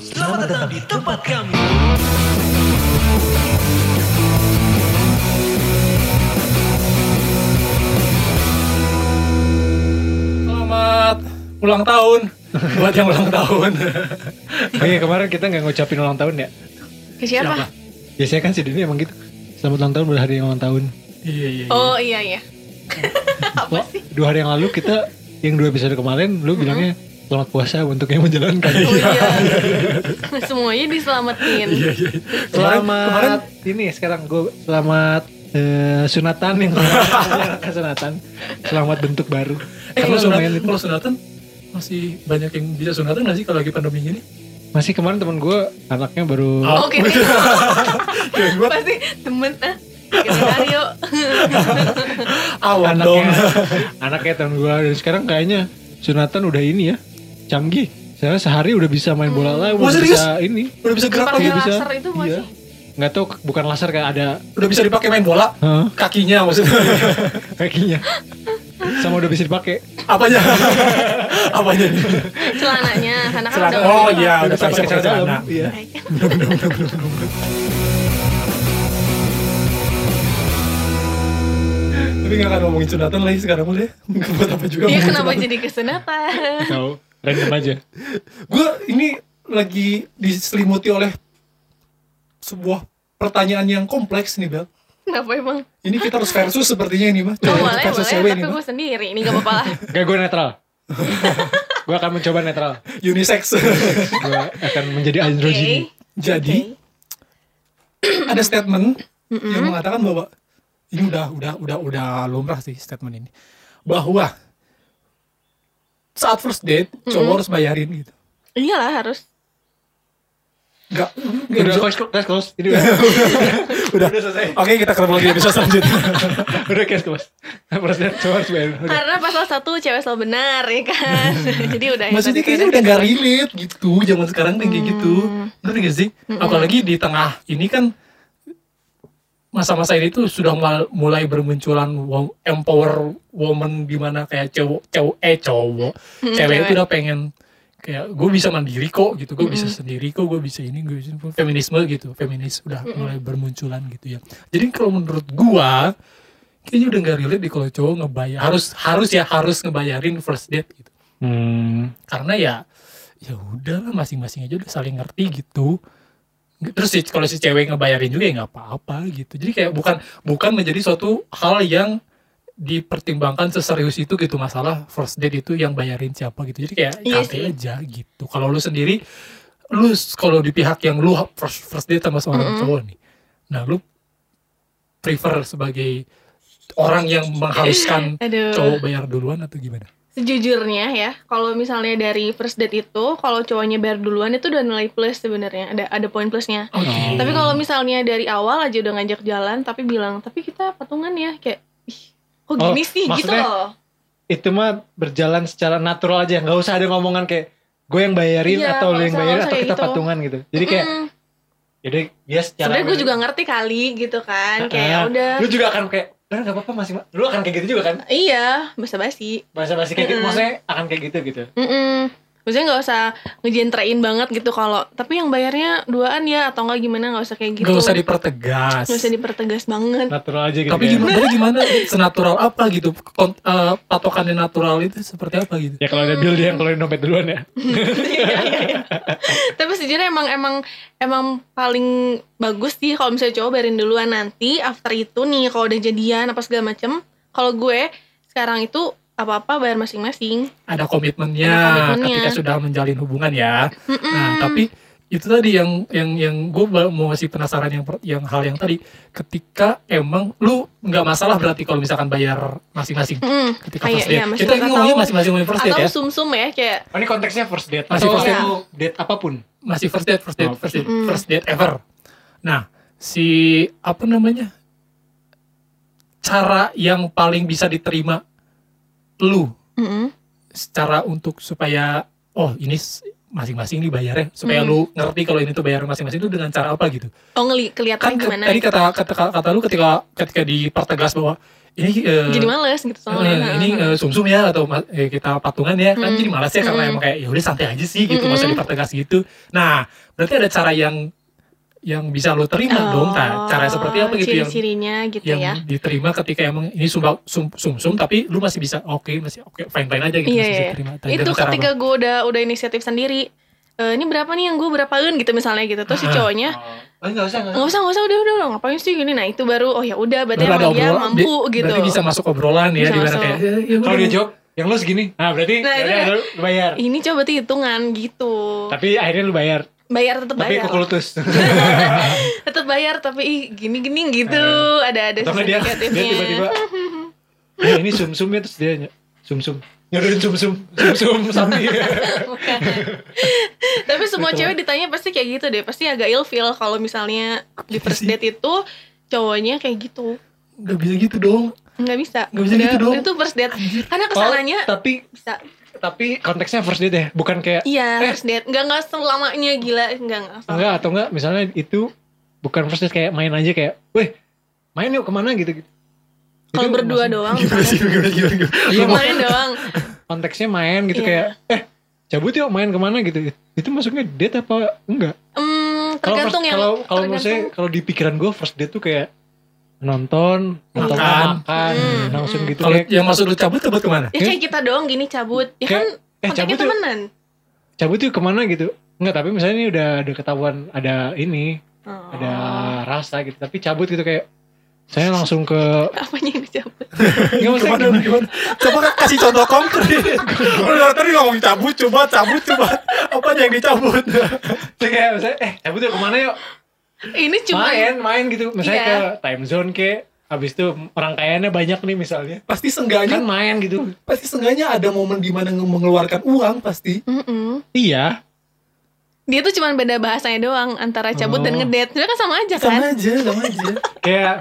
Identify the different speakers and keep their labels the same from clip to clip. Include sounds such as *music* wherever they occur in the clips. Speaker 1: Selamat datang di tempat kami.
Speaker 2: Selamat ulang tahun buat yang ulang
Speaker 3: *laughs*
Speaker 2: tahun.
Speaker 3: Oh iya kemarin kita nggak ngucapin ulang tahun ya.
Speaker 4: Ke siapa?
Speaker 2: Siapa?
Speaker 3: Biasanya kan si Dini emang gitu. Selamat ulang tahun berhari yang ulang tahun.
Speaker 2: Iya iya. iya.
Speaker 4: Oh iya iya. Apa
Speaker 3: Wah, dua hari yang lalu kita yang dua episode kemarin lu bilangnya selamat puasa untuk yang menjalankan.
Speaker 4: Oh iya.
Speaker 2: *laughs*
Speaker 4: Semuanya diselamatin.
Speaker 2: Iya iya. Kemarin
Speaker 3: Selamat
Speaker 2: kemarin
Speaker 3: ini sekarang gue selamat eh, sunatan yang
Speaker 2: *laughs*
Speaker 3: kemarin. sunatan. Selamat bentuk baru.
Speaker 2: eh,
Speaker 3: Karena
Speaker 2: kalau sunatan,
Speaker 3: lumayan itu.
Speaker 2: kalau sunatan masih banyak yang bisa sunatan nggak sih kalau lagi pandemi gini?
Speaker 3: Masih kemarin teman gue anaknya baru
Speaker 2: Oh,
Speaker 4: Oke.
Speaker 2: Ya, gua
Speaker 4: Pasti temen ah. Kita cari yuk.
Speaker 2: awam dong.
Speaker 3: anaknya *laughs* anaknya teman gue dan sekarang kayaknya sunatan udah ini ya canggih. Saya sehari udah bisa main bola lagi,
Speaker 2: Wah,
Speaker 3: udah
Speaker 2: serius?
Speaker 3: bisa ini
Speaker 2: Udah bisa gerak gitu. lagi,
Speaker 4: Pakai
Speaker 3: Iya, bisa.
Speaker 4: laser itu masih.
Speaker 3: nggak tahu ke- bukan laser kayak ada
Speaker 2: udah bisa dipakai main bola.
Speaker 3: Hah?
Speaker 2: Kakinya
Speaker 3: *laughs*
Speaker 2: maksudnya.
Speaker 3: kakinya ya. sama udah bisa dipakai *laughs*
Speaker 2: Apanya? Apanya? nih?
Speaker 4: Celananya. Karena kan
Speaker 2: Celana.
Speaker 4: udah
Speaker 2: Oh
Speaker 4: berubah.
Speaker 2: iya, udah pakai
Speaker 3: celana dalam.
Speaker 2: celana.
Speaker 3: iya
Speaker 2: Tapi nggak akan ngomongin sunatan lagi sekarang udah. *laughs* Buat apa juga? ngomongin
Speaker 4: Dia Iya, kenapa
Speaker 2: sunatan.
Speaker 4: jadi kesunatan?
Speaker 3: tahu random aja
Speaker 2: Gue ini lagi diselimuti oleh sebuah pertanyaan yang kompleks nih Bel.
Speaker 4: Kenapa emang?
Speaker 2: Ini kita harus
Speaker 4: *laughs*
Speaker 2: versus sepertinya ini mah.
Speaker 4: Oh
Speaker 2: Cowok
Speaker 4: boleh
Speaker 2: versus
Speaker 4: boleh.
Speaker 2: cewek
Speaker 4: Tapi
Speaker 2: nih mah.
Speaker 4: gue sendiri. Ini gak apa-apa
Speaker 2: *laughs*
Speaker 4: lah.
Speaker 3: gak gue
Speaker 4: *laughs*
Speaker 3: netral gue akan mencoba netral
Speaker 2: Unisex.
Speaker 3: gue akan
Speaker 4: Oke.
Speaker 3: menjadi androgyn
Speaker 2: Jadi ada statement yang mengatakan bahwa ini udah udah udah udah lumrah sih statement ini bahwa saat first date cowok harus bayarin gitu.
Speaker 4: Iyalah harus.
Speaker 2: Enggak,
Speaker 3: udah close close close ini
Speaker 4: *laughs*
Speaker 3: udah
Speaker 2: udah. Oke, kita ketemu lagi di episode selanjutnya.
Speaker 3: udah close close harus lihat coba harus bayar udah
Speaker 4: Karena pasal satu cewek selalu benar ya
Speaker 2: *laughs*
Speaker 4: kan. jadi udah.
Speaker 2: Maksudnya
Speaker 4: tadi Hmm.
Speaker 2: kayaknya
Speaker 4: tuh
Speaker 2: udah gak relate gitu zaman sekarang tuh kayak gitu Ngerti gak sih?
Speaker 4: Hmm.
Speaker 2: Apalagi di tengah ini kan Masa-masa ini tuh sudah mal- mulai bermunculan wo- Empower woman gimana kayak cowok cowok Eh cowok Cewek itu
Speaker 4: Hmm, cewek.
Speaker 2: udah pengen Kayak gue bisa mandiri kok gitu Gue bisa
Speaker 4: Hmm.
Speaker 2: sendiri kok Gue bisa ini gue bisa itu. Feminisme gitu Feminis udah
Speaker 4: Hmm.
Speaker 2: mulai bermunculan gitu ya Jadi kalau menurut gua Kayaknya udah gak relate di kalau cowok ngebayar Harus harus ya harus ngebayarin first date gitu
Speaker 3: hmm
Speaker 2: karena ya ya udahlah masing-masing aja udah saling ngerti gitu terus si- kalau si cewek ngebayarin juga ya nggak apa-apa gitu jadi kayak bukan bukan menjadi suatu hal yang dipertimbangkan seserius itu gitu masalah first date itu yang bayarin siapa gitu jadi kayak
Speaker 4: Iya
Speaker 2: santai
Speaker 4: sih.
Speaker 2: aja gitu kalau lu sendiri lu s- kalau di pihak yang lu first first date sama seorang cowok nih nah lu prefer sebagai orang yang mengharuskan
Speaker 4: *laughs* Aduh.
Speaker 2: cowok bayar duluan atau gimana
Speaker 4: Sejujurnya ya, kalau misalnya dari first date itu, kalau cowoknya bayar duluan itu udah nilai plus sebenarnya, ada ada poin plusnya.
Speaker 2: oke
Speaker 4: Tapi kalau misalnya dari awal aja udah ngajak jalan, tapi bilang, tapi kita patungan ya, kayak, ih, kok
Speaker 3: Oh,
Speaker 4: gini sih gitu
Speaker 3: maksudnya-
Speaker 4: loh.
Speaker 3: itu mah berjalan secara natural aja nggak usah ada ngomongan kayak gue yang bayarin
Speaker 4: Iya,
Speaker 3: atau
Speaker 4: nggak
Speaker 3: lu
Speaker 4: usah-
Speaker 3: yang bayarin
Speaker 4: nggak usah
Speaker 3: atau
Speaker 4: kayak
Speaker 3: kita
Speaker 4: gitu.
Speaker 3: patungan gitu jadi kayak
Speaker 4: Mm,
Speaker 3: jadi dia secara
Speaker 4: sebenarnya gue juga ngerti kali gitu kan, kayak ya
Speaker 3: Ah,
Speaker 4: udah,
Speaker 3: lu juga akan kayak "Bener, nggak apa-apa masih lu akan kayak gitu juga kan
Speaker 4: iya, basa-basi.
Speaker 3: bahasa basi kayak gitu
Speaker 4: Mm-mm.
Speaker 3: maksudnya akan kayak gitu gitu
Speaker 4: Mm-mm. Maksudnya nggak usah ngejentrein banget gitu kalau, tapi yang bayarnya duaan ya atau nggak gimana nggak usah kayak gitu.
Speaker 2: Gak usah dipertegas.
Speaker 4: Nggak usah dipertegas banget.
Speaker 3: natural aja gitu
Speaker 2: Tapi
Speaker 3: ya.
Speaker 2: gimana? Tapi gimana? Senatural apa gitu? Kon- eh, patokannya natural itu seperti apa gitu?
Speaker 3: ya kalau ada deal dia yang keluarin dompet duluan ya
Speaker 4: Iya, iya, iya. Tapi sejujurnya emang emang emang paling bagus sih kalau misalnya cowok bayarin duluan nanti after itu nih kalau udah jadian apa segala macem kalau gue sekarang itu apa-apa bayar masing-masing.
Speaker 2: Ada komitmennya,
Speaker 4: Ada komitmennya. Mm.
Speaker 2: ketika sudah menjalin hubungan ya. Nah, tapi itu tadi yang yang yang gue mau masih penasaran yang per- yang hal yang tadi ketika emang lu nggak masalah berarti kalau misalkan bayar masing-masing
Speaker 4: Mm-mm.
Speaker 2: ketika
Speaker 4: Kayak
Speaker 2: first date
Speaker 4: ya masih
Speaker 2: kita ini ngomongnya masing-masing ngomongin first date
Speaker 4: atau
Speaker 2: ya
Speaker 4: sumsum ya kayak
Speaker 3: oh, ini konteksnya first date Oh, iya.
Speaker 2: Masih
Speaker 3: atau
Speaker 2: first
Speaker 4: date.
Speaker 3: date apapun
Speaker 2: masih first date first date
Speaker 3: Oh.
Speaker 2: first date first date ever nah si apa namanya cara yang paling bisa diterima lu
Speaker 4: mm-mm.
Speaker 2: secara untuk supaya oh ini s- masing-masing nih bayarnya supaya lu ngerti kalau ini tuh bayar masing-masing itu dengan cara apa gitu
Speaker 4: oh ngeli
Speaker 2: kan
Speaker 4: kelihatan
Speaker 2: ke-
Speaker 4: gimana?
Speaker 2: tadi kata, kata kata kata lu ketika ketika dipertegas bahwa ini eh,
Speaker 4: jadi males gitu soalnya
Speaker 2: eh, ini eh, sumsum ya atau ma- eh, kita patungan ya kan
Speaker 4: Hmm.
Speaker 2: jadi malas ya karena
Speaker 4: Hmm.
Speaker 2: emang kayak ya udah santai aja sih gitu nggak usah
Speaker 4: Hmm.
Speaker 2: dipertegas gitu nah berarti ada cara yang yang bisa lo terima dong Ta. cara seperti apa gitu yang
Speaker 4: Oh, ciri-cirinya gitu
Speaker 2: yang
Speaker 4: ya
Speaker 2: diterima ketika emang ini sumba- sum, sum, sum, tapi lu masih bisa oke masih oke fine fine aja gitu
Speaker 4: Iya,
Speaker 2: masih
Speaker 4: iya.
Speaker 2: bisa terima Dan
Speaker 4: itu
Speaker 2: cara
Speaker 4: ketika
Speaker 2: lu-
Speaker 4: gue udah udah inisiatif sendiri Eh ini berapa nih yang gue berapain gitu misalnya gitu terus si
Speaker 2: Ah.
Speaker 4: cowoknya
Speaker 3: Oh, enggak usah, enggak
Speaker 4: nggak usah nggak usah udah udah udah ngapain sih gini nah itu baru oh ya udah berarti
Speaker 2: Baru ada
Speaker 4: emang dia
Speaker 2: obrolan,
Speaker 4: mampu
Speaker 2: bi-
Speaker 4: gitu
Speaker 2: berarti bisa masuk obrolan ya
Speaker 4: Bisa
Speaker 2: di mana
Speaker 4: masuk.
Speaker 2: kayak "Eh, ya
Speaker 3: Kalau
Speaker 2: udah."
Speaker 3: dia jawab, yang lu segini. Nah, berarti
Speaker 4: iya. Nah, Iya. itu
Speaker 3: yaudah,
Speaker 4: kayak-
Speaker 3: lu bayar.
Speaker 4: ini coba berarti hitungan gitu
Speaker 3: Tapi akhirnya lu bayar.
Speaker 4: bayar tetap
Speaker 3: Tapi
Speaker 4: bayar
Speaker 3: kok kulutus.
Speaker 4: *laughs* tetap bayar tapi ih gini gini gitu ada ada sisi
Speaker 3: Tapi Eh, dia dia
Speaker 4: negatifnya
Speaker 3: tiba-tiba. Ya ini sumsumnya terus dia ny- sumsum. Nyodorin sumsum,
Speaker 4: *laughs*
Speaker 3: sumsum sapi.
Speaker 4: *laughs* Bukan. tapi semua cewek ditanya pasti kayak gitu deh pasti agak ilfeel kalau misalnya di first
Speaker 2: sih?
Speaker 4: date itu cowoknya kayak gitu
Speaker 2: nggak bisa gitu dong
Speaker 4: nggak bisa
Speaker 2: Nggak bisa gitu dong.
Speaker 4: itu first date karena
Speaker 3: Oh,
Speaker 4: kesananya
Speaker 3: tapi
Speaker 4: bisa
Speaker 3: tapi konteksnya first date ya, bukan kayak
Speaker 4: iya
Speaker 3: Eh.
Speaker 4: first date nggak nggak selamanya gila nggak nggak apa.
Speaker 3: enggak atau enggak misalnya itu bukan first date kayak main aja kayak, "Weh, main yuk kemana gitu." gitu.
Speaker 4: kalau
Speaker 3: Itu
Speaker 4: berdua doang
Speaker 2: gimana sih gimana gimana, gimana.
Speaker 3: Iya, maksudnya
Speaker 4: main doang
Speaker 3: konteksnya main gitu
Speaker 4: Iya.
Speaker 3: kayak eh cabut yuk main kemana gitu itu masuknya date apa enggak
Speaker 4: hmm,
Speaker 3: Kalau first-
Speaker 4: tergantung yang
Speaker 3: kalau kalau
Speaker 4: tergantung. Ya,
Speaker 3: maksudnya kalau di pikiran gue first date tuh kayak nonton atau
Speaker 2: Makan.
Speaker 3: makan
Speaker 4: Hmm,
Speaker 3: langsung gitu
Speaker 2: kalau
Speaker 3: kayak
Speaker 2: yang maksud lu cabut cabut kemana
Speaker 4: ya kayak kita doang gini cabut ya kan
Speaker 3: Kayak, eh
Speaker 4: kontaknya
Speaker 3: cabut yuk
Speaker 4: temenan
Speaker 3: cabut yuk kemana gitu enggak tapi misalnya ini udah ada ketahuan ada ini
Speaker 4: Oh.
Speaker 3: ada rasa gitu tapi cabut gitu kayak saya langsung ke
Speaker 4: Oh, apanya yang dicabut
Speaker 3: enggak
Speaker 2: *laughs*
Speaker 3: maksudnya
Speaker 2: Gimana, gimana? Coba Kak, kasih contoh konkret. Lu dari tadi ngomong cabut, coba cabut, coba. Apa yang dicabut?
Speaker 3: gitu, kayak misalnya eh cabut yuk kemana yuk
Speaker 4: ini cuma
Speaker 3: main main gitu misalnya
Speaker 4: Iya.
Speaker 3: ke time zone ke habis itu rangkaiannya banyak nih misalnya
Speaker 2: Pasti
Speaker 3: kan
Speaker 2: sengganya,
Speaker 3: main gitu
Speaker 2: pasti sengganya ada momen di mana nge- mengeluarkan uang pasti.
Speaker 4: Mm-mm.
Speaker 3: Iya.
Speaker 4: dia tuh cuma beda bahasanya doang antara cabut dan
Speaker 3: Oh.
Speaker 4: ngedate sebenarnya kan sama aja kan *laughs*
Speaker 2: Sama aja, sama aja.
Speaker 3: Kayak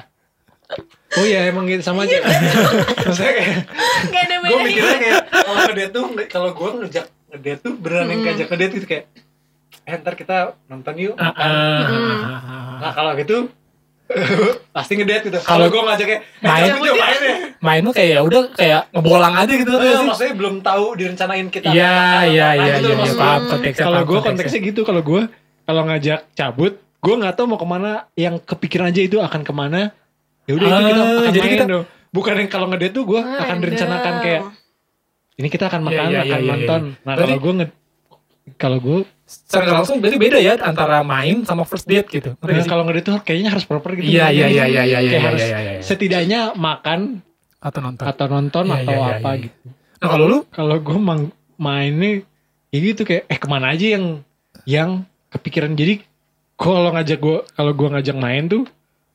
Speaker 3: Oh iya emang gitu sama aja. *laughs* Maksudnya kayak
Speaker 4: nggak ada
Speaker 3: gue
Speaker 4: bedanya
Speaker 3: mikirnya kayak kalau ngedate tuh kalau gue ngejak ngedate tuh beneran yang ngajak ngedate gitu kayak eh ntar kita nonton yuk. Nah kalau gitu *laughs* pasti ngedate gitu.
Speaker 2: Kalau-
Speaker 3: Kalau gue ngajaknya eh,
Speaker 2: Main. Iya.
Speaker 3: cabut yuk, main ya.
Speaker 2: Main lu kayak ya udah kayak ngebolang aja gitu
Speaker 3: Eh,
Speaker 2: kan.
Speaker 3: maksudnya belum tahu direncanain kita.
Speaker 2: Iya, iya,
Speaker 3: Nah,
Speaker 2: iya,
Speaker 3: gitu
Speaker 2: iya,
Speaker 3: loh
Speaker 2: iya,
Speaker 3: maksud
Speaker 2: paham konteksnya.
Speaker 3: Kalau
Speaker 2: paham
Speaker 3: gue konteksnya gitu kalau gue kalau ngajak cabut gue nggak tahu mau kemana yang kepikiran aja itu akan kemana. Ya udah itu kita
Speaker 2: Ah,
Speaker 3: akan
Speaker 2: jadi
Speaker 3: main
Speaker 2: kita- Ah,
Speaker 3: dong. Bukan yang kalau ngedate tuh gue akan direncanakan kayak ini kita akan makan,
Speaker 2: Iya, iya,
Speaker 3: akan
Speaker 2: iya, iya,
Speaker 3: nonton.
Speaker 2: iya.
Speaker 3: Nah,
Speaker 2: Berarti-
Speaker 3: kalau gue nge kalau gue
Speaker 2: Secara nggak langsung berarti beda ya antara main sama first date gitu. Ngerti nggak sih?
Speaker 3: kalau ngedate tuh kayaknya harus proper gitu.
Speaker 2: Iya, iya, iya, iya, iya,
Speaker 3: Kayak
Speaker 2: iya,
Speaker 3: harus
Speaker 2: iya, iya, iya.
Speaker 3: setidaknya makan
Speaker 2: Atau nonton.
Speaker 3: atau nonton
Speaker 2: Iya,
Speaker 3: atau
Speaker 2: iya, iya,
Speaker 3: apa
Speaker 2: iya.
Speaker 3: gitu.
Speaker 2: Nah, kalau lu
Speaker 3: Kalau gue mang mainnya ya gitu kayak eh kemana aja yang yang kepikiran jadi kalau ngajak gue kalau gue ngajak main tuh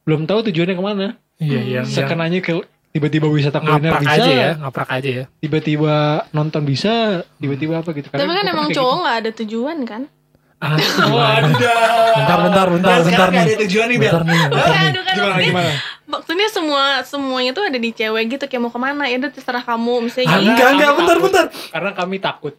Speaker 3: belum tahu tujuannya kemana.
Speaker 2: Iya, yang yang
Speaker 3: Sekenanya ke tiba-tiba wisata kuliner
Speaker 2: ngaprak
Speaker 3: bisa,
Speaker 2: aja ya, ngaprak aja
Speaker 3: *laughs*
Speaker 2: ya.
Speaker 3: tiba-tiba nonton bisa, tiba-tiba apa gitu. Karena
Speaker 4: tapi kan
Speaker 3: gua
Speaker 4: emang
Speaker 3: kayak
Speaker 4: cowok nggak ada tujuan
Speaker 3: *laughs*
Speaker 4: kan
Speaker 2: Ah, gimana?
Speaker 3: Waduh.
Speaker 2: Bentar, bentar, bentar,
Speaker 3: Nah,
Speaker 2: bentar
Speaker 3: sekarang
Speaker 2: nih.
Speaker 3: ada tujuan nih, Bel.
Speaker 2: Bentar nih, bentar nih.
Speaker 4: aduh kan
Speaker 3: Gimana,
Speaker 4: maksudnya,
Speaker 3: gimana?
Speaker 4: maksudnya semua semuanya tuh ada di cewek gitu kayak mau kemana ya udah terserah kamu misalnya
Speaker 2: Ah,
Speaker 4: gitu. gini.
Speaker 2: enggak, enggak,
Speaker 3: Kami
Speaker 2: bentar,
Speaker 3: takut.
Speaker 2: bentar.
Speaker 3: Karena kami takut.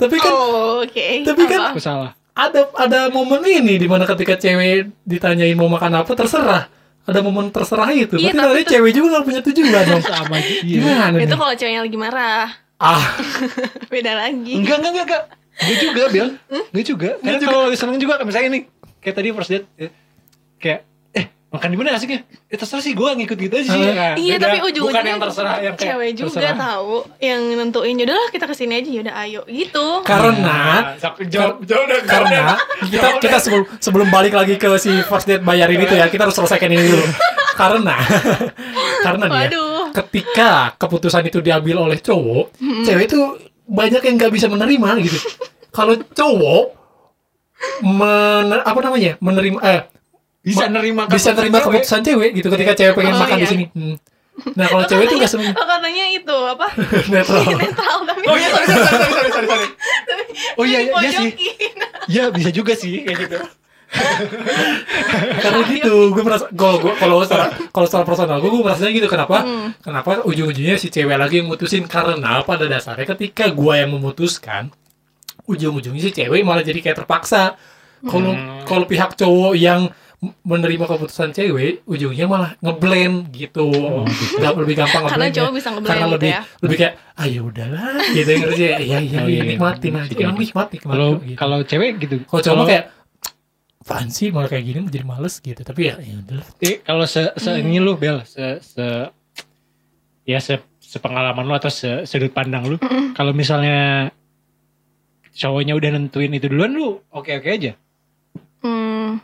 Speaker 2: Tapi kan
Speaker 4: oh, oke
Speaker 2: Tapi kan-
Speaker 4: Apa?
Speaker 3: Aku salah.
Speaker 2: ada ada momen ini di mana ketika cewek ditanyain mau makan apa terserah. Ada momen terserah itu.
Speaker 4: Iya,
Speaker 2: Berarti
Speaker 4: tapi
Speaker 2: nanti
Speaker 4: itu-
Speaker 2: cewek juga gak punya tujuan dong.
Speaker 3: Sama iya. dia.
Speaker 2: Gimana
Speaker 4: itu
Speaker 2: nih?
Speaker 4: kalau ceweknya lagi marah *laughs*
Speaker 2: Ah,
Speaker 4: beda lagi
Speaker 3: Enggak, enggak, enggak, enggak. Enggak juga, Bel.
Speaker 4: Hmm?
Speaker 3: Enggak juga. Karena kalau lagi seneng juga, kayak misalnya ini. Kayak tadi first date. ya. Kayak, eh makan di mana asiknya? Ya terserah sih gue ngikut gitu aja sih.
Speaker 2: Eh.
Speaker 3: Nah,
Speaker 4: Iya
Speaker 3: beda.
Speaker 4: tapi
Speaker 3: Bukan
Speaker 4: ujung-ujungnya
Speaker 3: yang terserah yang kayak
Speaker 4: cewek juga
Speaker 3: terserah.
Speaker 4: tahu yang nentuin yaudah lah kita kesini aja yaudah ayo gitu.
Speaker 2: karena
Speaker 3: Nah, jawab- jawab, jawab dong, jawab
Speaker 2: karena
Speaker 3: dong.
Speaker 2: kita kita sebelum, sebelum balik lagi ke si first date bayarin itu ya kita harus selesaikan ini dulu karena *laughs* karena nih ya,
Speaker 4: Waduh.
Speaker 2: ketika keputusan itu diambil oleh cowok cewek itu banyak yang nggak bisa menerima gitu kalau cowok men- apa namanya menerima eh,
Speaker 3: Bisa nerima
Speaker 2: bisa nerima
Speaker 3: cewek.
Speaker 2: keputusan cewek gitu ketika cewek pengen
Speaker 4: Oh,
Speaker 2: makan di
Speaker 4: iya.
Speaker 2: sini Hmm. nah kalau cewek itu nggak
Speaker 4: *laughs*
Speaker 2: seneng
Speaker 4: Oh katanya itu apa?
Speaker 2: Netral.
Speaker 4: Netral tapi
Speaker 3: *laughs* Oh iya, *laughs*
Speaker 4: *laughs*
Speaker 3: sorry, sorry, sorry, sorry, sorry, sorry. Oh iya, iya, iya sih.
Speaker 4: dipojokin.
Speaker 3: Iya, bisa juga sih kayak gitu.
Speaker 2: karena gitu gue merasa kalau gue kalau secara kalau secara personal gue gue merasanya gitu kenapa kenapa ujung-ujungnya si cewek lagi yang mutusin karena pada dasarnya ketika gue yang memutuskan ujung-ujungnya si cewek malah jadi kayak terpaksa kalau kalau pihak cowok yang menerima keputusan cewek ujungnya malah ngeblend gitu Gak lebih gampang
Speaker 4: Karena
Speaker 2: ngeblendnya.
Speaker 4: cowok bisa ngeblend
Speaker 2: karena
Speaker 4: gitu
Speaker 2: lebih
Speaker 4: ya.
Speaker 2: lebih kayak ah ya udahlah gitu yang ngerti ya ya ya, ya,
Speaker 3: Oh, iya.
Speaker 2: nikmatin aja
Speaker 3: Oke,
Speaker 2: emang
Speaker 3: oke.
Speaker 2: nikmatin
Speaker 3: Kalau
Speaker 2: gitu.
Speaker 3: kalau cewek gitu.
Speaker 2: kalau cowok
Speaker 3: kalau-
Speaker 2: mah kayak apaan sih malah kayak gini jadi males gitu tapi ya ya udahlah
Speaker 3: Eh, kalau se, se ini lu Bel, se, se ya se, sepengalaman lu atau se, sudut pandang lu, kalau misalnya cowoknya udah nentuin itu duluan lu oke-oke aja.
Speaker 4: Hmm.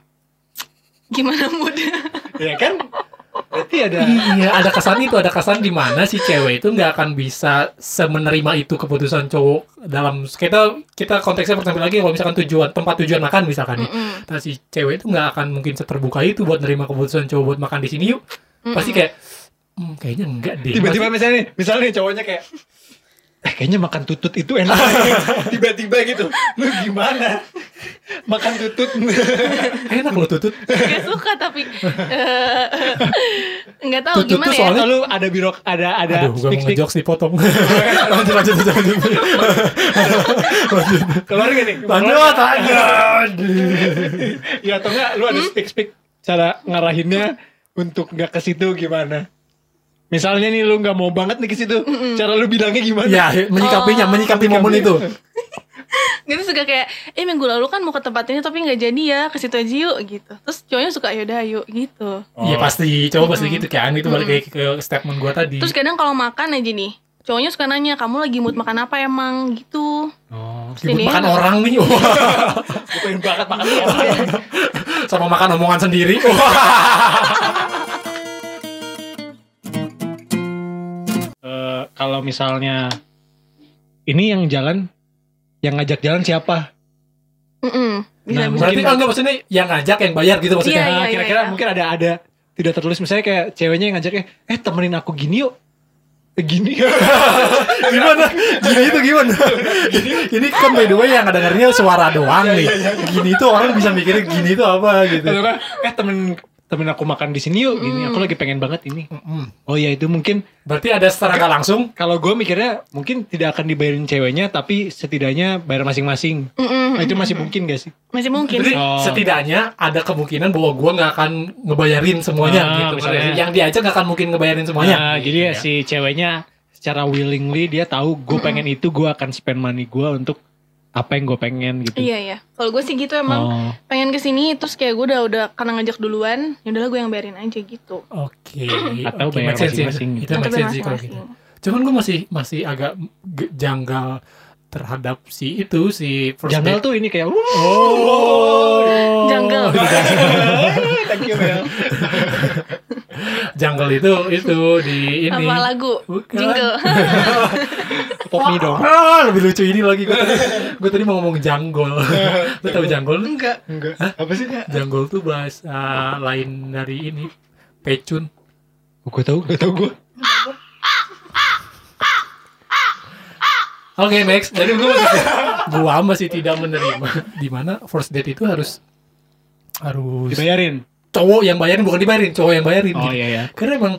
Speaker 4: Gimana *laughs* muda?
Speaker 3: Ya kan? Berarti ada
Speaker 2: Iya, ada kesan itu, ada kesan di mana si cewek itu nggak akan bisa semenerima itu keputusan cowok dalam kita kita konteksnya pertama lagi kalau misalkan tujuan tempat tujuan makan misalkan nih.
Speaker 4: Mm-mm.
Speaker 2: Nah, si cewek itu nggak akan mungkin seterbuka itu buat nerima keputusan cowok buat makan di sini yuk. Pasti kayak "Hmm, kayaknya enggak deh.
Speaker 3: tiba-tiba *laughs* misalnya nih, misalnya nih cowoknya kayak eh, kayaknya makan tutut itu enak *laughs* tiba-tiba gitu lu gimana makan tutut
Speaker 2: Pasti, enak loh tutut.
Speaker 4: Gak suka tapi eh, *laughs* nggak tahu
Speaker 2: Tutut tuh
Speaker 4: gimana ya.
Speaker 2: soalnya-
Speaker 3: lalu ada birok ada ada
Speaker 2: Aduh, gue mau
Speaker 3: speak speak
Speaker 2: ngejokes dipotong. lanjut, lanjut, lanjut. lanjut.
Speaker 3: keluar gak nih
Speaker 2: Lanjut, lanjut.
Speaker 3: ya atau enggak lu
Speaker 4: Hmm?
Speaker 3: ada speak speak cara ngarahinnya untuk nggak ke situ gimana misalnya nih lu nggak mau banget nih ke situ cara lu bilangnya gimana *laughs*
Speaker 2: Ya, menyikapinya, menyikapi momen itu.
Speaker 4: Gitu suka kayak, eh minggu lalu kan mau ke tempat ini tapi nggak jadi ya, ke situ aja yuk gitu. Terus cowoknya suka yaudah yuk gitu.
Speaker 3: Oh.
Speaker 2: Iya pasti, coba pasti gitu kan. Itu balik lagi ke statement gue tadi.
Speaker 4: Terus kadang kalau makan aja nih, cowoknya suka nanya, kamu lagi mood makan apa emang gitu.
Speaker 2: Ribut
Speaker 4: Sini. ya.
Speaker 2: makan orang nih, wah.
Speaker 3: Oh, Gua pengen banget makan
Speaker 4: Oh,
Speaker 3: orang.
Speaker 4: iya.
Speaker 2: sama makan omongan sendiri.
Speaker 3: *laughs* Ya,
Speaker 2: Wah.
Speaker 3: Eh, kalau misalnya ini yang jalan yang ngajak jalan siapa
Speaker 4: Mm-mm. Bisa,
Speaker 3: Nah,
Speaker 4: bisa.
Speaker 2: Berarti kan enggak maksudnya yang ngajak yang bayar gitu maksudnya.
Speaker 4: Iya,
Speaker 3: Nah,
Speaker 4: iya,
Speaker 3: kira-kira
Speaker 4: iya.
Speaker 3: mungkin ada ada tidak tertulis misalnya kayak ceweknya yang ngajaknya eh temenin aku gini yuk Eh,
Speaker 4: *laughs*
Speaker 3: gini
Speaker 2: Gimana? Gini itu
Speaker 3: *laughs*
Speaker 2: gimana? Ini kan by the way yang dengernya suara doang
Speaker 3: Iya,
Speaker 2: nih. Gini itu orang bisa mikirnya gini itu apa gitu.
Speaker 3: Atau kan, eh temen temen aku makan di sini
Speaker 4: Mm.
Speaker 3: yuk gini aku lagi pengen banget ini
Speaker 2: Mm-mm.
Speaker 3: oh ya itu mungkin
Speaker 2: Berarti ada secara nggak langsung
Speaker 3: kalau gue mikirnya mungkin tidak akan dibayarin ceweknya tapi setidaknya bayar masing-masing
Speaker 4: Mm-mm.
Speaker 3: Nah, itu masih mungkin gak sih
Speaker 4: Masih mungkin.
Speaker 2: Berarti
Speaker 4: sih.
Speaker 3: Oh.
Speaker 2: setidaknya ada kemungkinan bahwa gua nggak akan ngebayarin semuanya
Speaker 3: Ah,
Speaker 2: gitu.
Speaker 3: misalnya.
Speaker 2: Yang diajak nggak akan mungkin ngebayarin semuanya. Iya.
Speaker 3: Nah, jadi ya si ceweknya secara willingly dia tahu gue pengen itu gue akan spend money gue untuk apa yang gue pengen gitu
Speaker 4: Iya iya. Kalau gue sih gitu emang
Speaker 3: Oh.
Speaker 4: pengen kesini terus kayak gue udah udah karena ngajak duluan, yaudahlah gue yang bayarin aja gitu.
Speaker 2: Oke.
Speaker 3: Atau
Speaker 2: oke,
Speaker 3: bayar
Speaker 2: make sense sih.
Speaker 3: masing-masing.
Speaker 2: Itu
Speaker 4: Atau
Speaker 2: make
Speaker 4: bayar
Speaker 2: sense sih kalau gitu.
Speaker 4: masing-masing.
Speaker 2: Cuman gue masih masih agak ge- janggal terhadap si itu si first
Speaker 3: Janggal
Speaker 2: date.
Speaker 3: tuh ini kayak oh.
Speaker 2: *laughs*
Speaker 4: Janggal.
Speaker 2: Iya,
Speaker 3: Thank you, Mel.
Speaker 2: Janggal itu itu di ini. *laughs*
Speaker 4: Apa lagu?
Speaker 2: Bukan.
Speaker 4: Jingle.
Speaker 3: Pop me dong.
Speaker 2: Ah, lebih lucu ini lagi gue tadi, gua tadi mau ngomong janggol. Lu tahu janggol? lu?
Speaker 4: Enggak.
Speaker 3: Enggak. Apa sih?
Speaker 2: Janggol tuh bahasa lain dari ini pecun.
Speaker 3: Gue Oh, tahu, gue tahu gue.
Speaker 2: Oke next, jadi gue masih, gua masih tidak menerima dimana first date itu harus harus
Speaker 3: Dibayarin.
Speaker 2: cowok yang bayarin bukan dibayarin cowok yang bayarin
Speaker 3: Oh
Speaker 2: gitu.
Speaker 3: iya ya.
Speaker 2: karena emang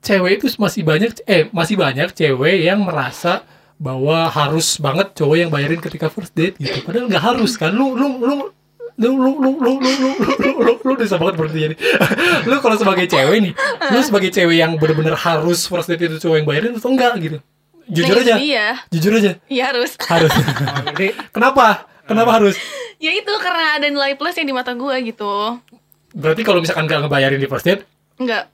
Speaker 2: cewek itu masih banyak eh masih banyak cewek yang merasa bahwa harus banget cowok yang bayarin ketika first date gitu padahal nggak harus kan lu lu lu lu lu lu lu lu lu lu lu lu bisa banget berhenti jadi lu kalau sebagai cewek nih lu sebagai cewek yang bener-bener harus first date itu cowok yang bayarin atau enggak gitu *laughs* jujur
Speaker 4: Nah, itu
Speaker 2: aja
Speaker 4: Iya,
Speaker 2: jujur aja
Speaker 4: iya harus.
Speaker 3: *laughs*
Speaker 2: harus
Speaker 3: Jadi
Speaker 2: kenapa kenapa harus
Speaker 4: *laughs* ya itu karena ada nilai plus yang di mata gue gitu.
Speaker 2: berarti kalau misalkan nggak ngebayarin di first date
Speaker 4: Enggak,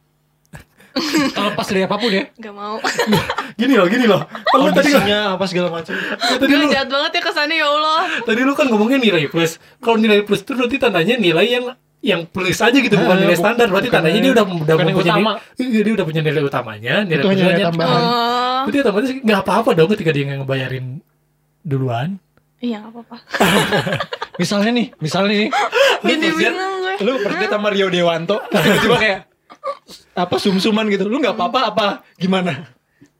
Speaker 3: kalau pas dari apapun ya.
Speaker 4: enggak mau.
Speaker 2: *laughs* gini loh gini loh Kan lu tadi
Speaker 3: Oh, Kondisinya apa segala macam.
Speaker 2: tadi
Speaker 4: Gue
Speaker 2: lu
Speaker 4: jahat banget ya kesannya ya Allah.
Speaker 2: Tadi lu kan ngomongnya nilai plus. Kalau nilai plus itu berarti tandanya nilai yang yang plus aja gitu, bukan
Speaker 3: Ah,
Speaker 2: nilai
Speaker 3: bu-
Speaker 2: standar. Berarti
Speaker 3: bukan
Speaker 2: tandanya
Speaker 3: yang-
Speaker 2: dia udah udah
Speaker 3: bukan yang
Speaker 2: mempunyai
Speaker 3: utama.
Speaker 2: Iya, dia udah punya nilai utamanya, nilai
Speaker 3: Itu hanya
Speaker 2: plusnya.
Speaker 3: tambahan.
Speaker 4: Oh,
Speaker 2: Berarti otomatis nggak apa-apa dong ketika dia nggak ngebayarin duluan.
Speaker 4: iya nggak apa-apa.
Speaker 3: Misalnya nih, misalnya nih. Lu
Speaker 4: Jadi
Speaker 3: first date-
Speaker 4: bingung gue.
Speaker 3: Lu first date sama Rio Dewanto. Tiba-tiba kayak apa sumsuman gitu. Lu nggak apa-apa apa gimana?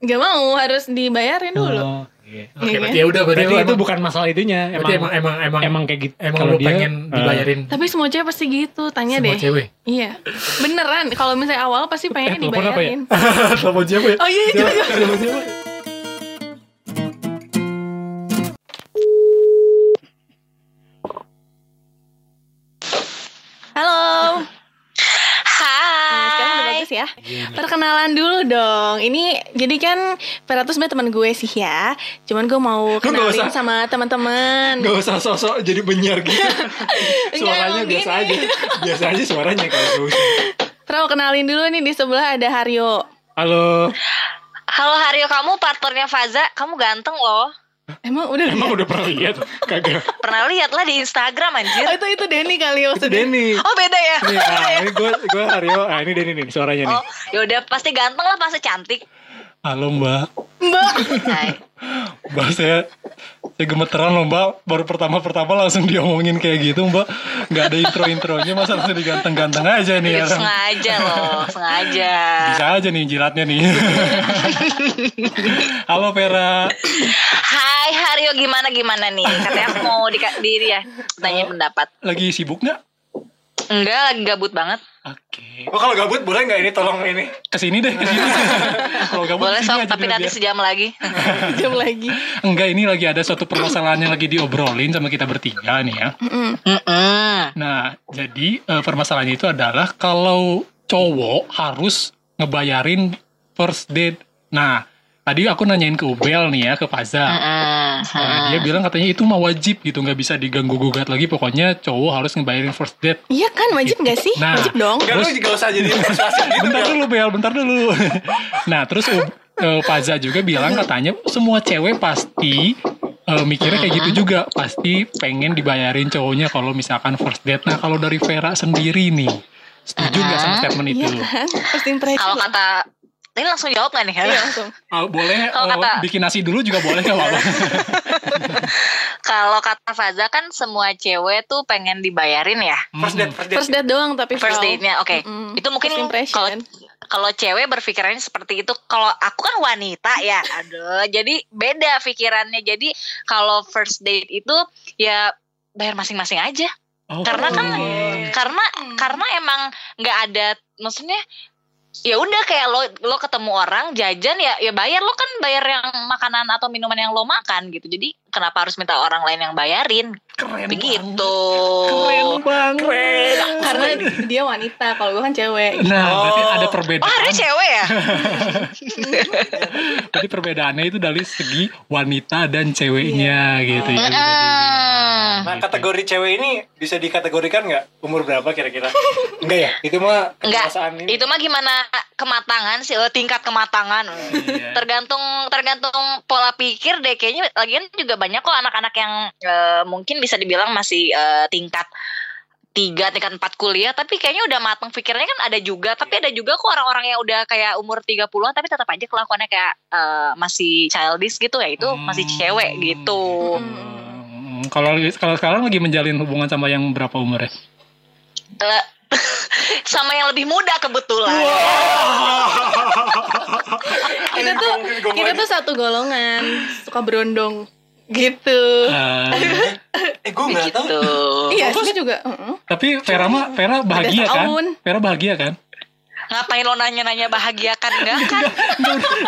Speaker 4: Enggak mau, harus dibayarin dulu.
Speaker 3: Oh, iya.
Speaker 2: Oke,
Speaker 4: Iya,
Speaker 2: berarti
Speaker 4: iya.
Speaker 2: ya udah berarti,
Speaker 3: Berarti
Speaker 2: lu
Speaker 3: itu
Speaker 2: emang,
Speaker 3: bukan masalah itunya.
Speaker 2: berarti emang emang emang
Speaker 3: emang kayak gitu.
Speaker 2: emang
Speaker 3: Kalau
Speaker 2: lu
Speaker 3: dia,
Speaker 2: pengen
Speaker 3: eh,
Speaker 2: dibayarin
Speaker 4: Tapi semua cewek pasti gitu, tanya
Speaker 2: semua
Speaker 4: deh.
Speaker 2: cewek.
Speaker 4: Iya. Beneran, kalau misalnya awal pasti pengen
Speaker 3: telepon apa ya?
Speaker 4: dibayarin.
Speaker 2: Telepon siapa ya?
Speaker 4: Oh iya, iya, iya.
Speaker 2: Telepon siapa?
Speaker 4: Halo. ya. Perkenalan dulu dong. Ini jadi kan Vera tuh sebenarnya teman gue sih ya. Cuman gue mau
Speaker 3: nggak
Speaker 4: kenalin
Speaker 3: usah.
Speaker 4: sama teman-teman.
Speaker 3: Gak usah sosok jadi penyiar gitu
Speaker 4: emang
Speaker 3: Suaranya biasa
Speaker 4: gini.
Speaker 3: aja Biasa aja suaranya kalau gak usah
Speaker 4: Vera mau kenalin dulu nih di sebelah ada Haryo.
Speaker 3: Halo
Speaker 5: Halo Hario, kamu partnernya Faza, kamu ganteng loh.
Speaker 4: Emang udah
Speaker 3: Emang udah pernah lihat? Kagak
Speaker 5: Pernah lihat lah di Instagram anjir.
Speaker 4: Oh, itu itu Denny kali ya
Speaker 3: Itu
Speaker 4: maksudnya.
Speaker 3: Denny
Speaker 5: Oh beda ya.
Speaker 3: Nih, ah, ini gue gue Aryo. Ah, ini Denny nih suaranya nih.
Speaker 5: Oh, yaudah pasti ganteng lah, pasti cantik.
Speaker 2: Halo mbak,
Speaker 4: Mbak.
Speaker 5: Hai.
Speaker 2: mbak saya saya gemeteran loh mbak. Baru pertama-pertama langsung diomongin kayak gitu mbak. Nggak ada intro-intronya masa langsung diganteng-ganteng aja nih
Speaker 4: Iya,
Speaker 5: Itu
Speaker 2: orang.
Speaker 5: sengaja loh, sengaja.
Speaker 2: Bisa aja nih jilatnya
Speaker 4: *laughs*
Speaker 2: nih. Halo Vera.
Speaker 5: Hai Hario, gimana gimana nih? Katanya aku mau di, di ya, tanya
Speaker 2: Oh.
Speaker 5: pendapat.
Speaker 2: Lagi sibuk nggak?
Speaker 5: Enggak, lagi gabut banget.
Speaker 2: Oke.
Speaker 3: Oh kalau gabut boleh nggak ini tolong ini?
Speaker 2: Kesini deh,
Speaker 3: *laughs*
Speaker 2: kesini. Kalau gabut
Speaker 5: Boleh
Speaker 2: kesini aja
Speaker 5: sok,
Speaker 2: ya. Iya.
Speaker 5: tapi
Speaker 2: biar-
Speaker 5: nanti
Speaker 2: biar-
Speaker 5: sejam
Speaker 2: *laughs*
Speaker 5: lagi.
Speaker 4: Jam lagi.
Speaker 2: Enggak, ini lagi ada suatu permasalahan yang lagi diobrolin sama kita bertiga nih ya.
Speaker 4: Mm-mm.
Speaker 5: Mm-mm.
Speaker 2: Nah, jadi eh, permasalahannya itu adalah kalau cowok harus ngebayarin first date. Nah, tadi aku nanyain ke Ubel nih ya, ke Faza.
Speaker 5: Mm-mm.
Speaker 2: Nah, dia bilang katanya itu mah wajib gitu, nggak bisa diganggu gugat lagi. Pokoknya cowok harus ngebayarin first date.
Speaker 4: Iya kan wajib gak sih?
Speaker 2: Nah.
Speaker 4: Wajib dong.
Speaker 3: Enggak lu juga usah
Speaker 5: *laughs*
Speaker 3: jadi persuasif gitu
Speaker 2: Bentar dulu Bel, bentar dulu. nah, terus Ub- eh, Faza juga bilang katanya semua cewek pasti eh, mikirnya kayak gitu juga, pasti pengen dibayarin cowoknya kalau misalkan first date. Nah, kalau dari Vera sendiri nih, setuju nggak sama statement
Speaker 4: Iya
Speaker 2: itu?
Speaker 4: kan? First impression.
Speaker 5: Kalau kata ini langsung jawab gak nih?
Speaker 4: Iya, langsung.
Speaker 2: Ah, boleh
Speaker 5: Kalau
Speaker 2: eh,
Speaker 5: kata-
Speaker 2: bikin nasi dulu juga boleh nggak apa-apa.
Speaker 5: *laughs* Kalau kata Faza kan semua cewek tuh pengen dibayarin ya.
Speaker 3: First date, first date.
Speaker 4: First date doang tapi
Speaker 5: First
Speaker 4: Val.
Speaker 5: date-nya, oke.
Speaker 4: Mm-mm.
Speaker 5: Itu mungkin
Speaker 4: First impression.
Speaker 5: kalau kalau cewek berpikirannya seperti itu. Kalau aku kan wanita ya, aduh. Jadi beda pikirannya. Jadi kalau first date itu ya bayar masing-masing aja.
Speaker 2: Oh,
Speaker 5: Karena kan
Speaker 2: oke.
Speaker 5: Karena karena emang nggak ada maksudnya ya udah kayak lo lo ketemu orang jajan ya ya bayar lo kan bayar yang makanan atau minuman yang lo makan gitu. Jadi kenapa harus minta orang lain yang bayarin?
Speaker 2: keren
Speaker 5: Begitu.
Speaker 2: banget. Keren banget.
Speaker 4: karena
Speaker 5: Iya.
Speaker 4: dia wanita, kalau gue kan cewek.
Speaker 2: Nah, berarti
Speaker 3: Oh.
Speaker 2: ada
Speaker 5: Oh,
Speaker 2: perbedaan.
Speaker 5: harus cewek ya?
Speaker 2: Berarti perbedaannya itu dari segi wanita dan ceweknya gitu ya.
Speaker 5: Iya,
Speaker 2: bisa
Speaker 5: Heeh.
Speaker 2: dibilang.
Speaker 3: Nah kategori cewek ini bisa dikategorikan nggak? Umur berapa kira-kira?
Speaker 5: *laughs*
Speaker 3: Enggak ya? Itu mah
Speaker 5: Enggak,
Speaker 3: kedewasaan ini.
Speaker 5: itu mah gimana kematangan sih, eh, tingkat kematangan.
Speaker 2: Iya.
Speaker 5: *laughs* Tergantung tergantung pola pikir deh kayaknya lagian juga banyak kok anak-anak yang eh, mungkin bisa dibilang masih eh, tingkat tiga tingkat empat kuliah tapi kayaknya udah matang pikirnya kan ada juga tapi
Speaker 2: Iya.
Speaker 5: ada juga kok orang-orang yang udah kayak umur 30-an tapi tetap aja kelakuannya kayak eh, masih childish gitu ya itu masih
Speaker 2: Hmm.
Speaker 5: cewek gitu
Speaker 2: Hmm, Kalau kalau sekarang lagi menjalin hubungan sama yang berapa ya? umurnya?
Speaker 5: Eh, *laughs* sama yang lebih muda kebetulan Iya,
Speaker 4: Kita tuh kita tuh satu golongan, suka berondong gitu.
Speaker 2: Eh,
Speaker 3: Eh gue nggak tahu.
Speaker 5: gitu
Speaker 4: Iya, sih juga. heeh.
Speaker 2: tapi Vera mah Vera bahagia kan?
Speaker 4: setahun.
Speaker 2: Vera bahagia kan?
Speaker 5: ngapain lo nanya-nanya bahagia kan enggak kan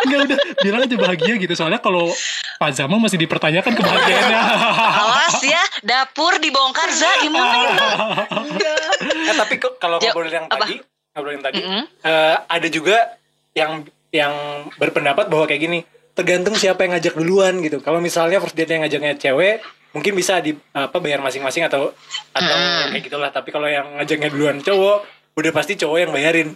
Speaker 2: Enggak udah, enggak udah bilang aja bahagia gitu. Soalnya kalau Pak Zama masih dipertanyakan kebahagiaannya.
Speaker 5: awas ya dapur dibongkar za gimana itu
Speaker 3: Eh, tapi kok kalau
Speaker 5: Ya,
Speaker 3: ngobrolin yang
Speaker 5: apa?
Speaker 3: tadi, ngobrolin yang tadi,
Speaker 5: Mm-mm.
Speaker 3: eh, ada juga yang yang berpendapat bahwa kayak gini, tergantung siapa yang ngajak duluan gitu. Kalau misalnya first date yang ngajaknya cewek, mungkin bisa di apa bayar masing-masing atau atau ya kayak gitulah. Tapi kalau yang ngajaknya duluan cowok, udah pasti cowok yang bayarin.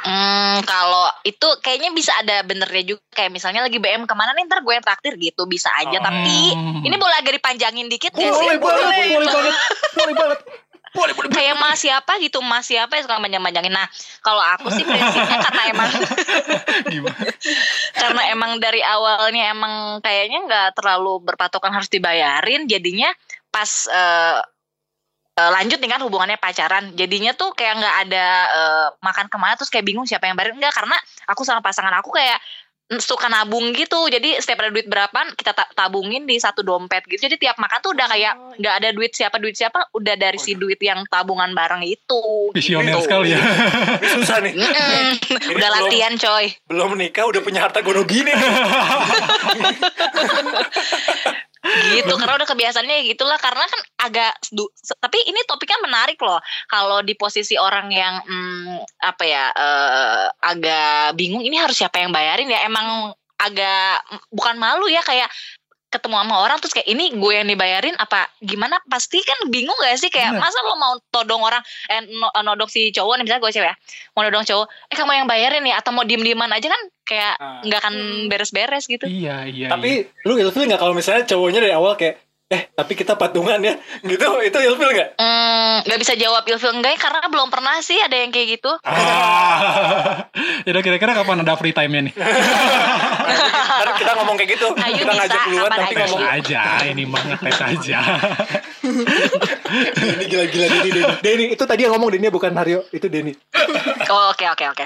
Speaker 5: Hmm, kalau itu kayaknya bisa ada benernya juga kayak misalnya lagi BM kemana nih ntar gue yang traktir gitu bisa aja tapi ini boleh agak dipanjangin dikit gak sih
Speaker 3: Oh. Hmm. boleh, boleh banget, boleh banget. Boleh, boleh.
Speaker 5: kayak mas siapa gitu mas siapa yang suka panjang-panjangin nah kalau aku sih prinsipnya karena emang
Speaker 2: Gimana?
Speaker 5: karena emang dari awalnya emang kayaknya nggak terlalu berpatokan harus dibayarin jadinya pas eh, eh, lanjut dengan hubungannya pacaran jadinya tuh kayak nggak ada eh, makan kemana terus kayak bingung siapa yang bayarin enggak karena aku sama pasangan aku kayak mm, suka nabung gitu jadi setiap ada duit berapa kita ta- tabungin di satu dompet gitu jadi tiap makan tuh udah kayak nggak ada duit siapa duit siapa udah dari si duit yang tabungan bareng itu
Speaker 2: Visioner
Speaker 5: gitu.
Speaker 2: sekali ya.
Speaker 3: Ini susah nih.
Speaker 5: Mm-mm. *laughs*
Speaker 3: Iya.
Speaker 5: udah
Speaker 3: belum-
Speaker 5: latihan coy
Speaker 3: Belum menikah udah punya harta gono gini.
Speaker 5: gitu karena udah kebiasaannya gitulah karena kan agak du- se- tapi ini topiknya menarik loh kalau di posisi orang yang hmm, apa ya eh, agak bingung ini harus siapa yang bayarin ya emang agak mm, bukan malu ya kayak ketemu sama orang terus kayak ini gue yang dibayarin apa gimana pasti kan bingung gak sih kayak
Speaker 2: Bener.
Speaker 5: masa lo mau todong orang eh, no- nodong si cowok nih misalnya gue cewek ya mau nodong cowok eh kamu yang bayarin ya atau mau diem dieman aja kan kayak
Speaker 3: Ah.
Speaker 5: nggak akan beres-beres gitu
Speaker 6: Iya, iya.
Speaker 3: Tapi lu ilfil nggak kalau misalnya cowoknya dari awal kayak eh tapi kita patungan ya gitu itu ilfil nggak?
Speaker 5: Hmm, nggak bisa jawab ilfil enggak ya, karena belum pernah sih ada yang kayak gitu.
Speaker 2: iya.
Speaker 6: Ah.
Speaker 2: ya
Speaker 6: Yaudah kira-kira kapan ada free time-nya nih?
Speaker 3: Ntar kita ngomong kayak gitu
Speaker 5: Ayu
Speaker 3: kita
Speaker 5: bisa,
Speaker 3: ngajak duluan
Speaker 5: kapan
Speaker 3: tapi
Speaker 5: aja.
Speaker 3: ngomong
Speaker 6: Tes aja, ini mah ngetes aja.
Speaker 3: ini gila-gila Denny
Speaker 2: *laughs*
Speaker 3: Denny Denny itu tadi yang ngomong Denny bukan Hario itu Denny
Speaker 5: Oh, Oke oke oke.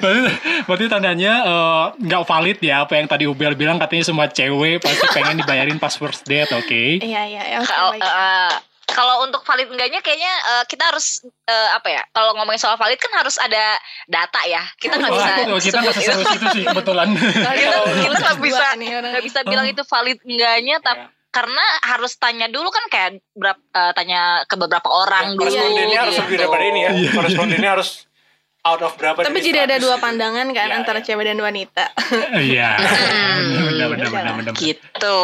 Speaker 6: berarti, berarti tandanya eh, nggak valid ya apa yang tadi Ubel bilang katanya semua cewek pasti pengen dibayarin pas first date, oke?
Speaker 4: Iya iya yang
Speaker 5: Kalau
Speaker 4: terbaik.
Speaker 5: eh, kalau untuk valid enggaknya kayaknya eh, kita harus eh, apa ya? Kalau ngomongin soal valid kan harus ada data ya. Kita nggak bisa
Speaker 6: Wah, kita nggak Ya
Speaker 5: sebut itu.
Speaker 6: seserius itu sih
Speaker 5: *laughs*
Speaker 6: kebetulan.
Speaker 5: kita kita nggak
Speaker 4: Dua
Speaker 5: bisa
Speaker 4: nih orang ini.
Speaker 5: nggak
Speaker 4: ya,
Speaker 5: bisa
Speaker 6: Oh.
Speaker 5: bilang itu valid enggaknya
Speaker 6: Ya.
Speaker 5: tapi karena harus tanya dulu kan kayak berap- eh, tanya ke beberapa
Speaker 6: Ya,
Speaker 5: orang dulu.
Speaker 3: korespondennya harus lebih
Speaker 5: gitu.
Speaker 3: daripada ini ya
Speaker 2: Iya.
Speaker 3: korespondennya harus out of berapa
Speaker 4: Tapi
Speaker 3: dari
Speaker 4: jadi ada
Speaker 3: 100.
Speaker 4: dua pandangan kan
Speaker 3: Iya,
Speaker 4: antara
Speaker 3: iya.
Speaker 4: cewek dan
Speaker 5: *laughs*
Speaker 4: wanita.
Speaker 6: Iya.
Speaker 5: Hmm,
Speaker 6: Benar benar benar benar.
Speaker 5: Gitu.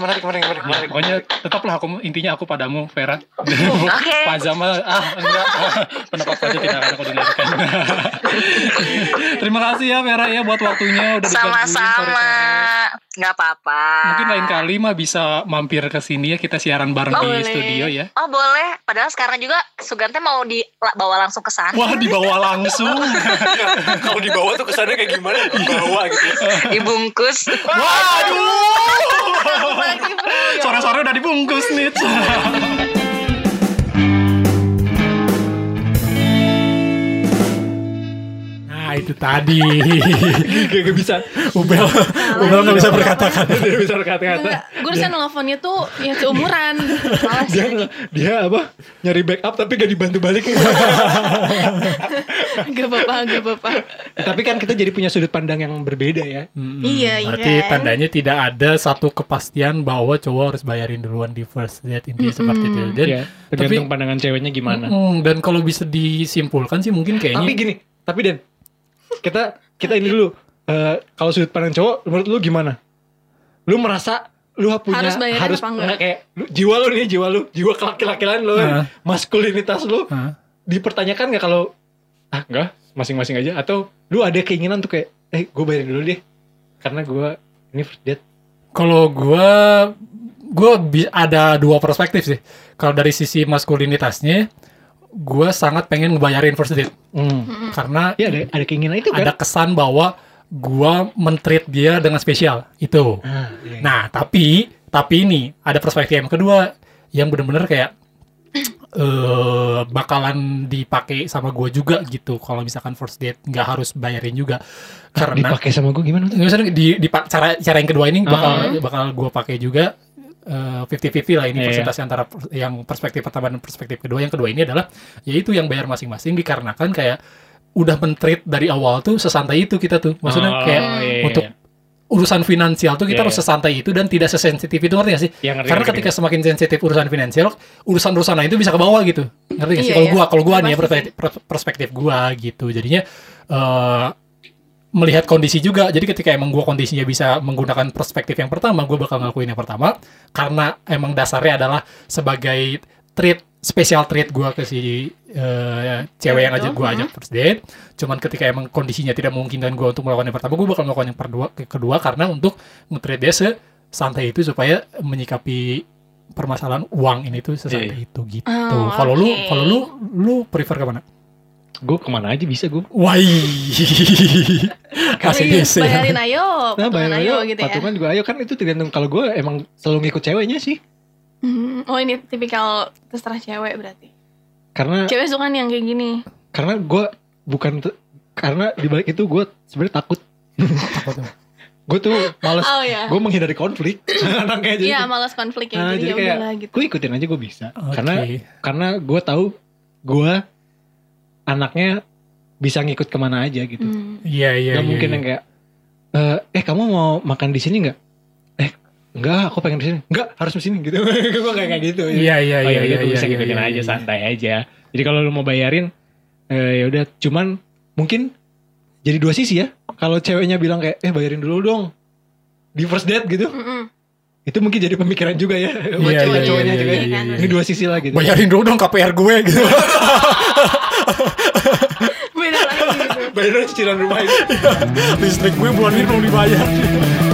Speaker 3: menarik menarik menarik
Speaker 6: Ya,
Speaker 3: menarik
Speaker 6: pokoknya tetaplah aku intinya aku padamu Vera.
Speaker 5: Oke.
Speaker 6: Pak Jamal ah enggak *laughs* ah, pendapat saja tidak akan aku dengarkan. *laughs* Terima kasih ya Vera ya buat waktunya udah digangguin, sorry,
Speaker 5: Sama-sama.
Speaker 6: sorry.
Speaker 5: Nggak apa-apa.
Speaker 6: Mungkin lain kali mah bisa mampir ke sini ya kita siaran bareng
Speaker 4: Oh,
Speaker 6: di
Speaker 4: boleh.
Speaker 6: studio ya.
Speaker 5: Oh boleh, padahal sekarang juga Sugante mau dibawa langsung ke sana.
Speaker 6: Wah dibawa langsung.
Speaker 3: *laughs* kalau dibawa tuh kesannya kayak gimana dibawa gitu
Speaker 2: Iya.
Speaker 5: Dibungkus.
Speaker 6: Waduh. *laughs* Sore-sore udah dibungkus nih.
Speaker 2: Nah itu tadi gak, gak bisa Ubel Ubel gak bisa berkata-kata Gak bisa berkata-kata
Speaker 3: Iya.
Speaker 4: Enggak, gue harusnya nelfonnya tuh yang seumuran. Males.
Speaker 3: Iya.
Speaker 2: dia dia apa nyari backup tapi gak dibantu balik
Speaker 4: Gak apa-apa, gak apa-apa.
Speaker 6: Tapi kan kita jadi punya sudut pandang yang berbeda ya.
Speaker 4: Iya, iya
Speaker 2: berarti
Speaker 4: kan?
Speaker 2: tandanya tidak ada satu kepastian bahwa cowok harus bayarin duluan di first date intinya seperti itu dan
Speaker 6: Iya,
Speaker 2: tapi
Speaker 6: tergantung pandangan ceweknya gimana.
Speaker 2: Mm, dan kalau bisa disimpulkan sih mungkin
Speaker 6: Tapi
Speaker 2: kayaknya
Speaker 6: gini, tapi Den, kita kita ini dulu. eh, kalau sudut pandang cowok, menurut lu gimana? Lu merasa lu punya
Speaker 4: Harus bayarin
Speaker 6: harus-
Speaker 4: apa enggak?
Speaker 6: enggak, kayak lu- jiwa lu nih, jiwa lu, jiwa kelaki-lakian lu,
Speaker 2: Heeh.
Speaker 6: maskulinitas lu
Speaker 2: Hah?
Speaker 6: dipertanyakan nggak kalau ah enggak, masing-masing aja atau lu ada keinginan tuh kayak eh gue bayarin dulu deh karena gue ini first date.
Speaker 2: kalau gua gua bi- ada dua perspektif sih kalau dari sisi maskulinitasnya gua sangat pengen ngebayarin first date karena
Speaker 3: Iya
Speaker 6: Ya ada ada keinginan itu
Speaker 2: Hmm. ada
Speaker 6: kan?
Speaker 2: kesan bahwa gua mentreat dia dengan spesial itu
Speaker 6: Ah, iya.
Speaker 2: Nah, tapi tapi ini ada perspektif yang kedua yang bener-bener kayak eh bakalan dipakai sama gue juga gitu. Kalau misalkan first date nggak harus bayarin juga
Speaker 3: Iya.
Speaker 2: karena
Speaker 6: dipakai sama gue gimana tuh?
Speaker 2: nggak usah di, di cara cara yang kedua
Speaker 6: Ah.
Speaker 2: ini bakal
Speaker 4: Uh-huh.
Speaker 2: bakal gue pakai juga fifty 50-50 lah ini
Speaker 6: Iya.
Speaker 2: persentase antara pers- yang perspektif pertama dan perspektif kedua. Yang kedua ini adalah yaitu yang bayar masing-masing dikarenakan kayak udah mentreat dari awal tuh sesantai itu kita tuh.
Speaker 6: Oh,
Speaker 2: Maksudnya kayak
Speaker 6: iya, iya,
Speaker 2: untuk
Speaker 6: iya.
Speaker 2: urusan finansial tuh kita
Speaker 6: Iya,
Speaker 2: harus
Speaker 6: iya.
Speaker 2: sesantai itu dan tidak sesensitif itu ngerti gak sih?
Speaker 6: Iya, ngerti,
Speaker 2: Karena
Speaker 6: ngerti,
Speaker 2: ketika semakin sensitif urusan finansial, urusan-urusan lain itu bisa ke bawah gitu. Ngerti gak sih?
Speaker 4: Iya,
Speaker 2: Kalau
Speaker 4: iya.
Speaker 2: gua, kalau gua nih ya
Speaker 4: Pasti
Speaker 2: perspektif, perspektif gua gitu. Jadinya eh melihat kondisi juga. Jadi ketika emang gua kondisinya bisa menggunakan perspektif yang pertama, gua bakal ngelakuin yang pertama karena emang dasarnya adalah sebagai treat special treat gua ke si eh, cewek yang
Speaker 4: Betul,
Speaker 2: ajak gua
Speaker 4: hmm.
Speaker 2: ajak first date. Cuman ketika emang kondisinya tidak memungkinkan gua untuk melakukan yang pertama, gua bakal melakukan yang kedua, kedua karena untuk nge-treat dia sesantai ya, itu supaya menyikapi permasalahan uang ini tuh sesantai
Speaker 3: Iya.
Speaker 2: itu gitu.
Speaker 4: Oh,
Speaker 2: Kalau lu
Speaker 4: oke.
Speaker 2: kalau lu lu prefer ke mana?
Speaker 6: Gue kemana aja bisa gue?
Speaker 4: *laughs*
Speaker 2: Wai. Kasih ya.
Speaker 4: Wih,
Speaker 2: DC.
Speaker 4: Iya, Bayarin ayo,
Speaker 6: Nah,
Speaker 4: patungan
Speaker 6: bayar
Speaker 4: ayo
Speaker 6: aja,
Speaker 4: gitu ya.
Speaker 6: patungan juga ayo kan itu tergantung kalau gue emang selalu ngikut ceweknya sih
Speaker 4: Hmm, Oh ini tipikal terserah cewek berarti.
Speaker 6: karena
Speaker 3: Iya.
Speaker 4: Cewek suka nih yang kayak gini.
Speaker 6: karena gue bukan te- karena dibalik itu gue sebenarnya takut gue tuh males
Speaker 4: Oh ya.
Speaker 6: gue menghindari
Speaker 4: *laughs*
Speaker 6: konflik orang kayak gitu
Speaker 4: Iya, malas konflik ya.
Speaker 6: Nah,
Speaker 4: jadi
Speaker 6: jadi
Speaker 4: ya
Speaker 6: kayak-
Speaker 4: udahlah gitu.
Speaker 6: gue ikutin aja gue bisa
Speaker 2: Oke.
Speaker 6: karena karena gue tahu gue anaknya bisa ngikut kemana aja gitu
Speaker 4: Hmm.
Speaker 2: Iya iya.
Speaker 6: Gak
Speaker 2: iya,
Speaker 6: mungkin
Speaker 2: iya.
Speaker 6: yang kayak eh, eh kamu mau makan di sini nggak eh
Speaker 3: enggak aku pengen di sini enggak harus
Speaker 6: *laughs*
Speaker 3: di sini gitu gue kayak kayak gitu
Speaker 2: Iya iya
Speaker 3: oh,
Speaker 2: iya iya.
Speaker 3: ya, bisa
Speaker 2: iya,
Speaker 3: ngikutin
Speaker 2: iya,
Speaker 3: aja
Speaker 2: iya.
Speaker 3: santai aja jadi kalau lu mau bayarin eh, ya udah cuman mungkin jadi dua sisi ya kalau ceweknya bilang kayak eh bayarin dulu dong di first date gitu
Speaker 4: Mm-mm.
Speaker 3: itu mungkin jadi pemikiran juga ya buat
Speaker 2: Iya,
Speaker 3: cewek
Speaker 2: iya,
Speaker 3: cowoknya
Speaker 2: iya,
Speaker 3: juga
Speaker 4: kan,
Speaker 2: iya,
Speaker 3: ya.
Speaker 2: iya,
Speaker 3: ini
Speaker 2: iya.
Speaker 3: dua sisi lah gitu
Speaker 2: Bayarin dulu dong KPR gue
Speaker 4: *laughs*
Speaker 2: gitu.
Speaker 4: Beda lagi gitu.
Speaker 3: bayarin cicilan rumah itu
Speaker 2: Listrik gue bulan ini belum dibayar.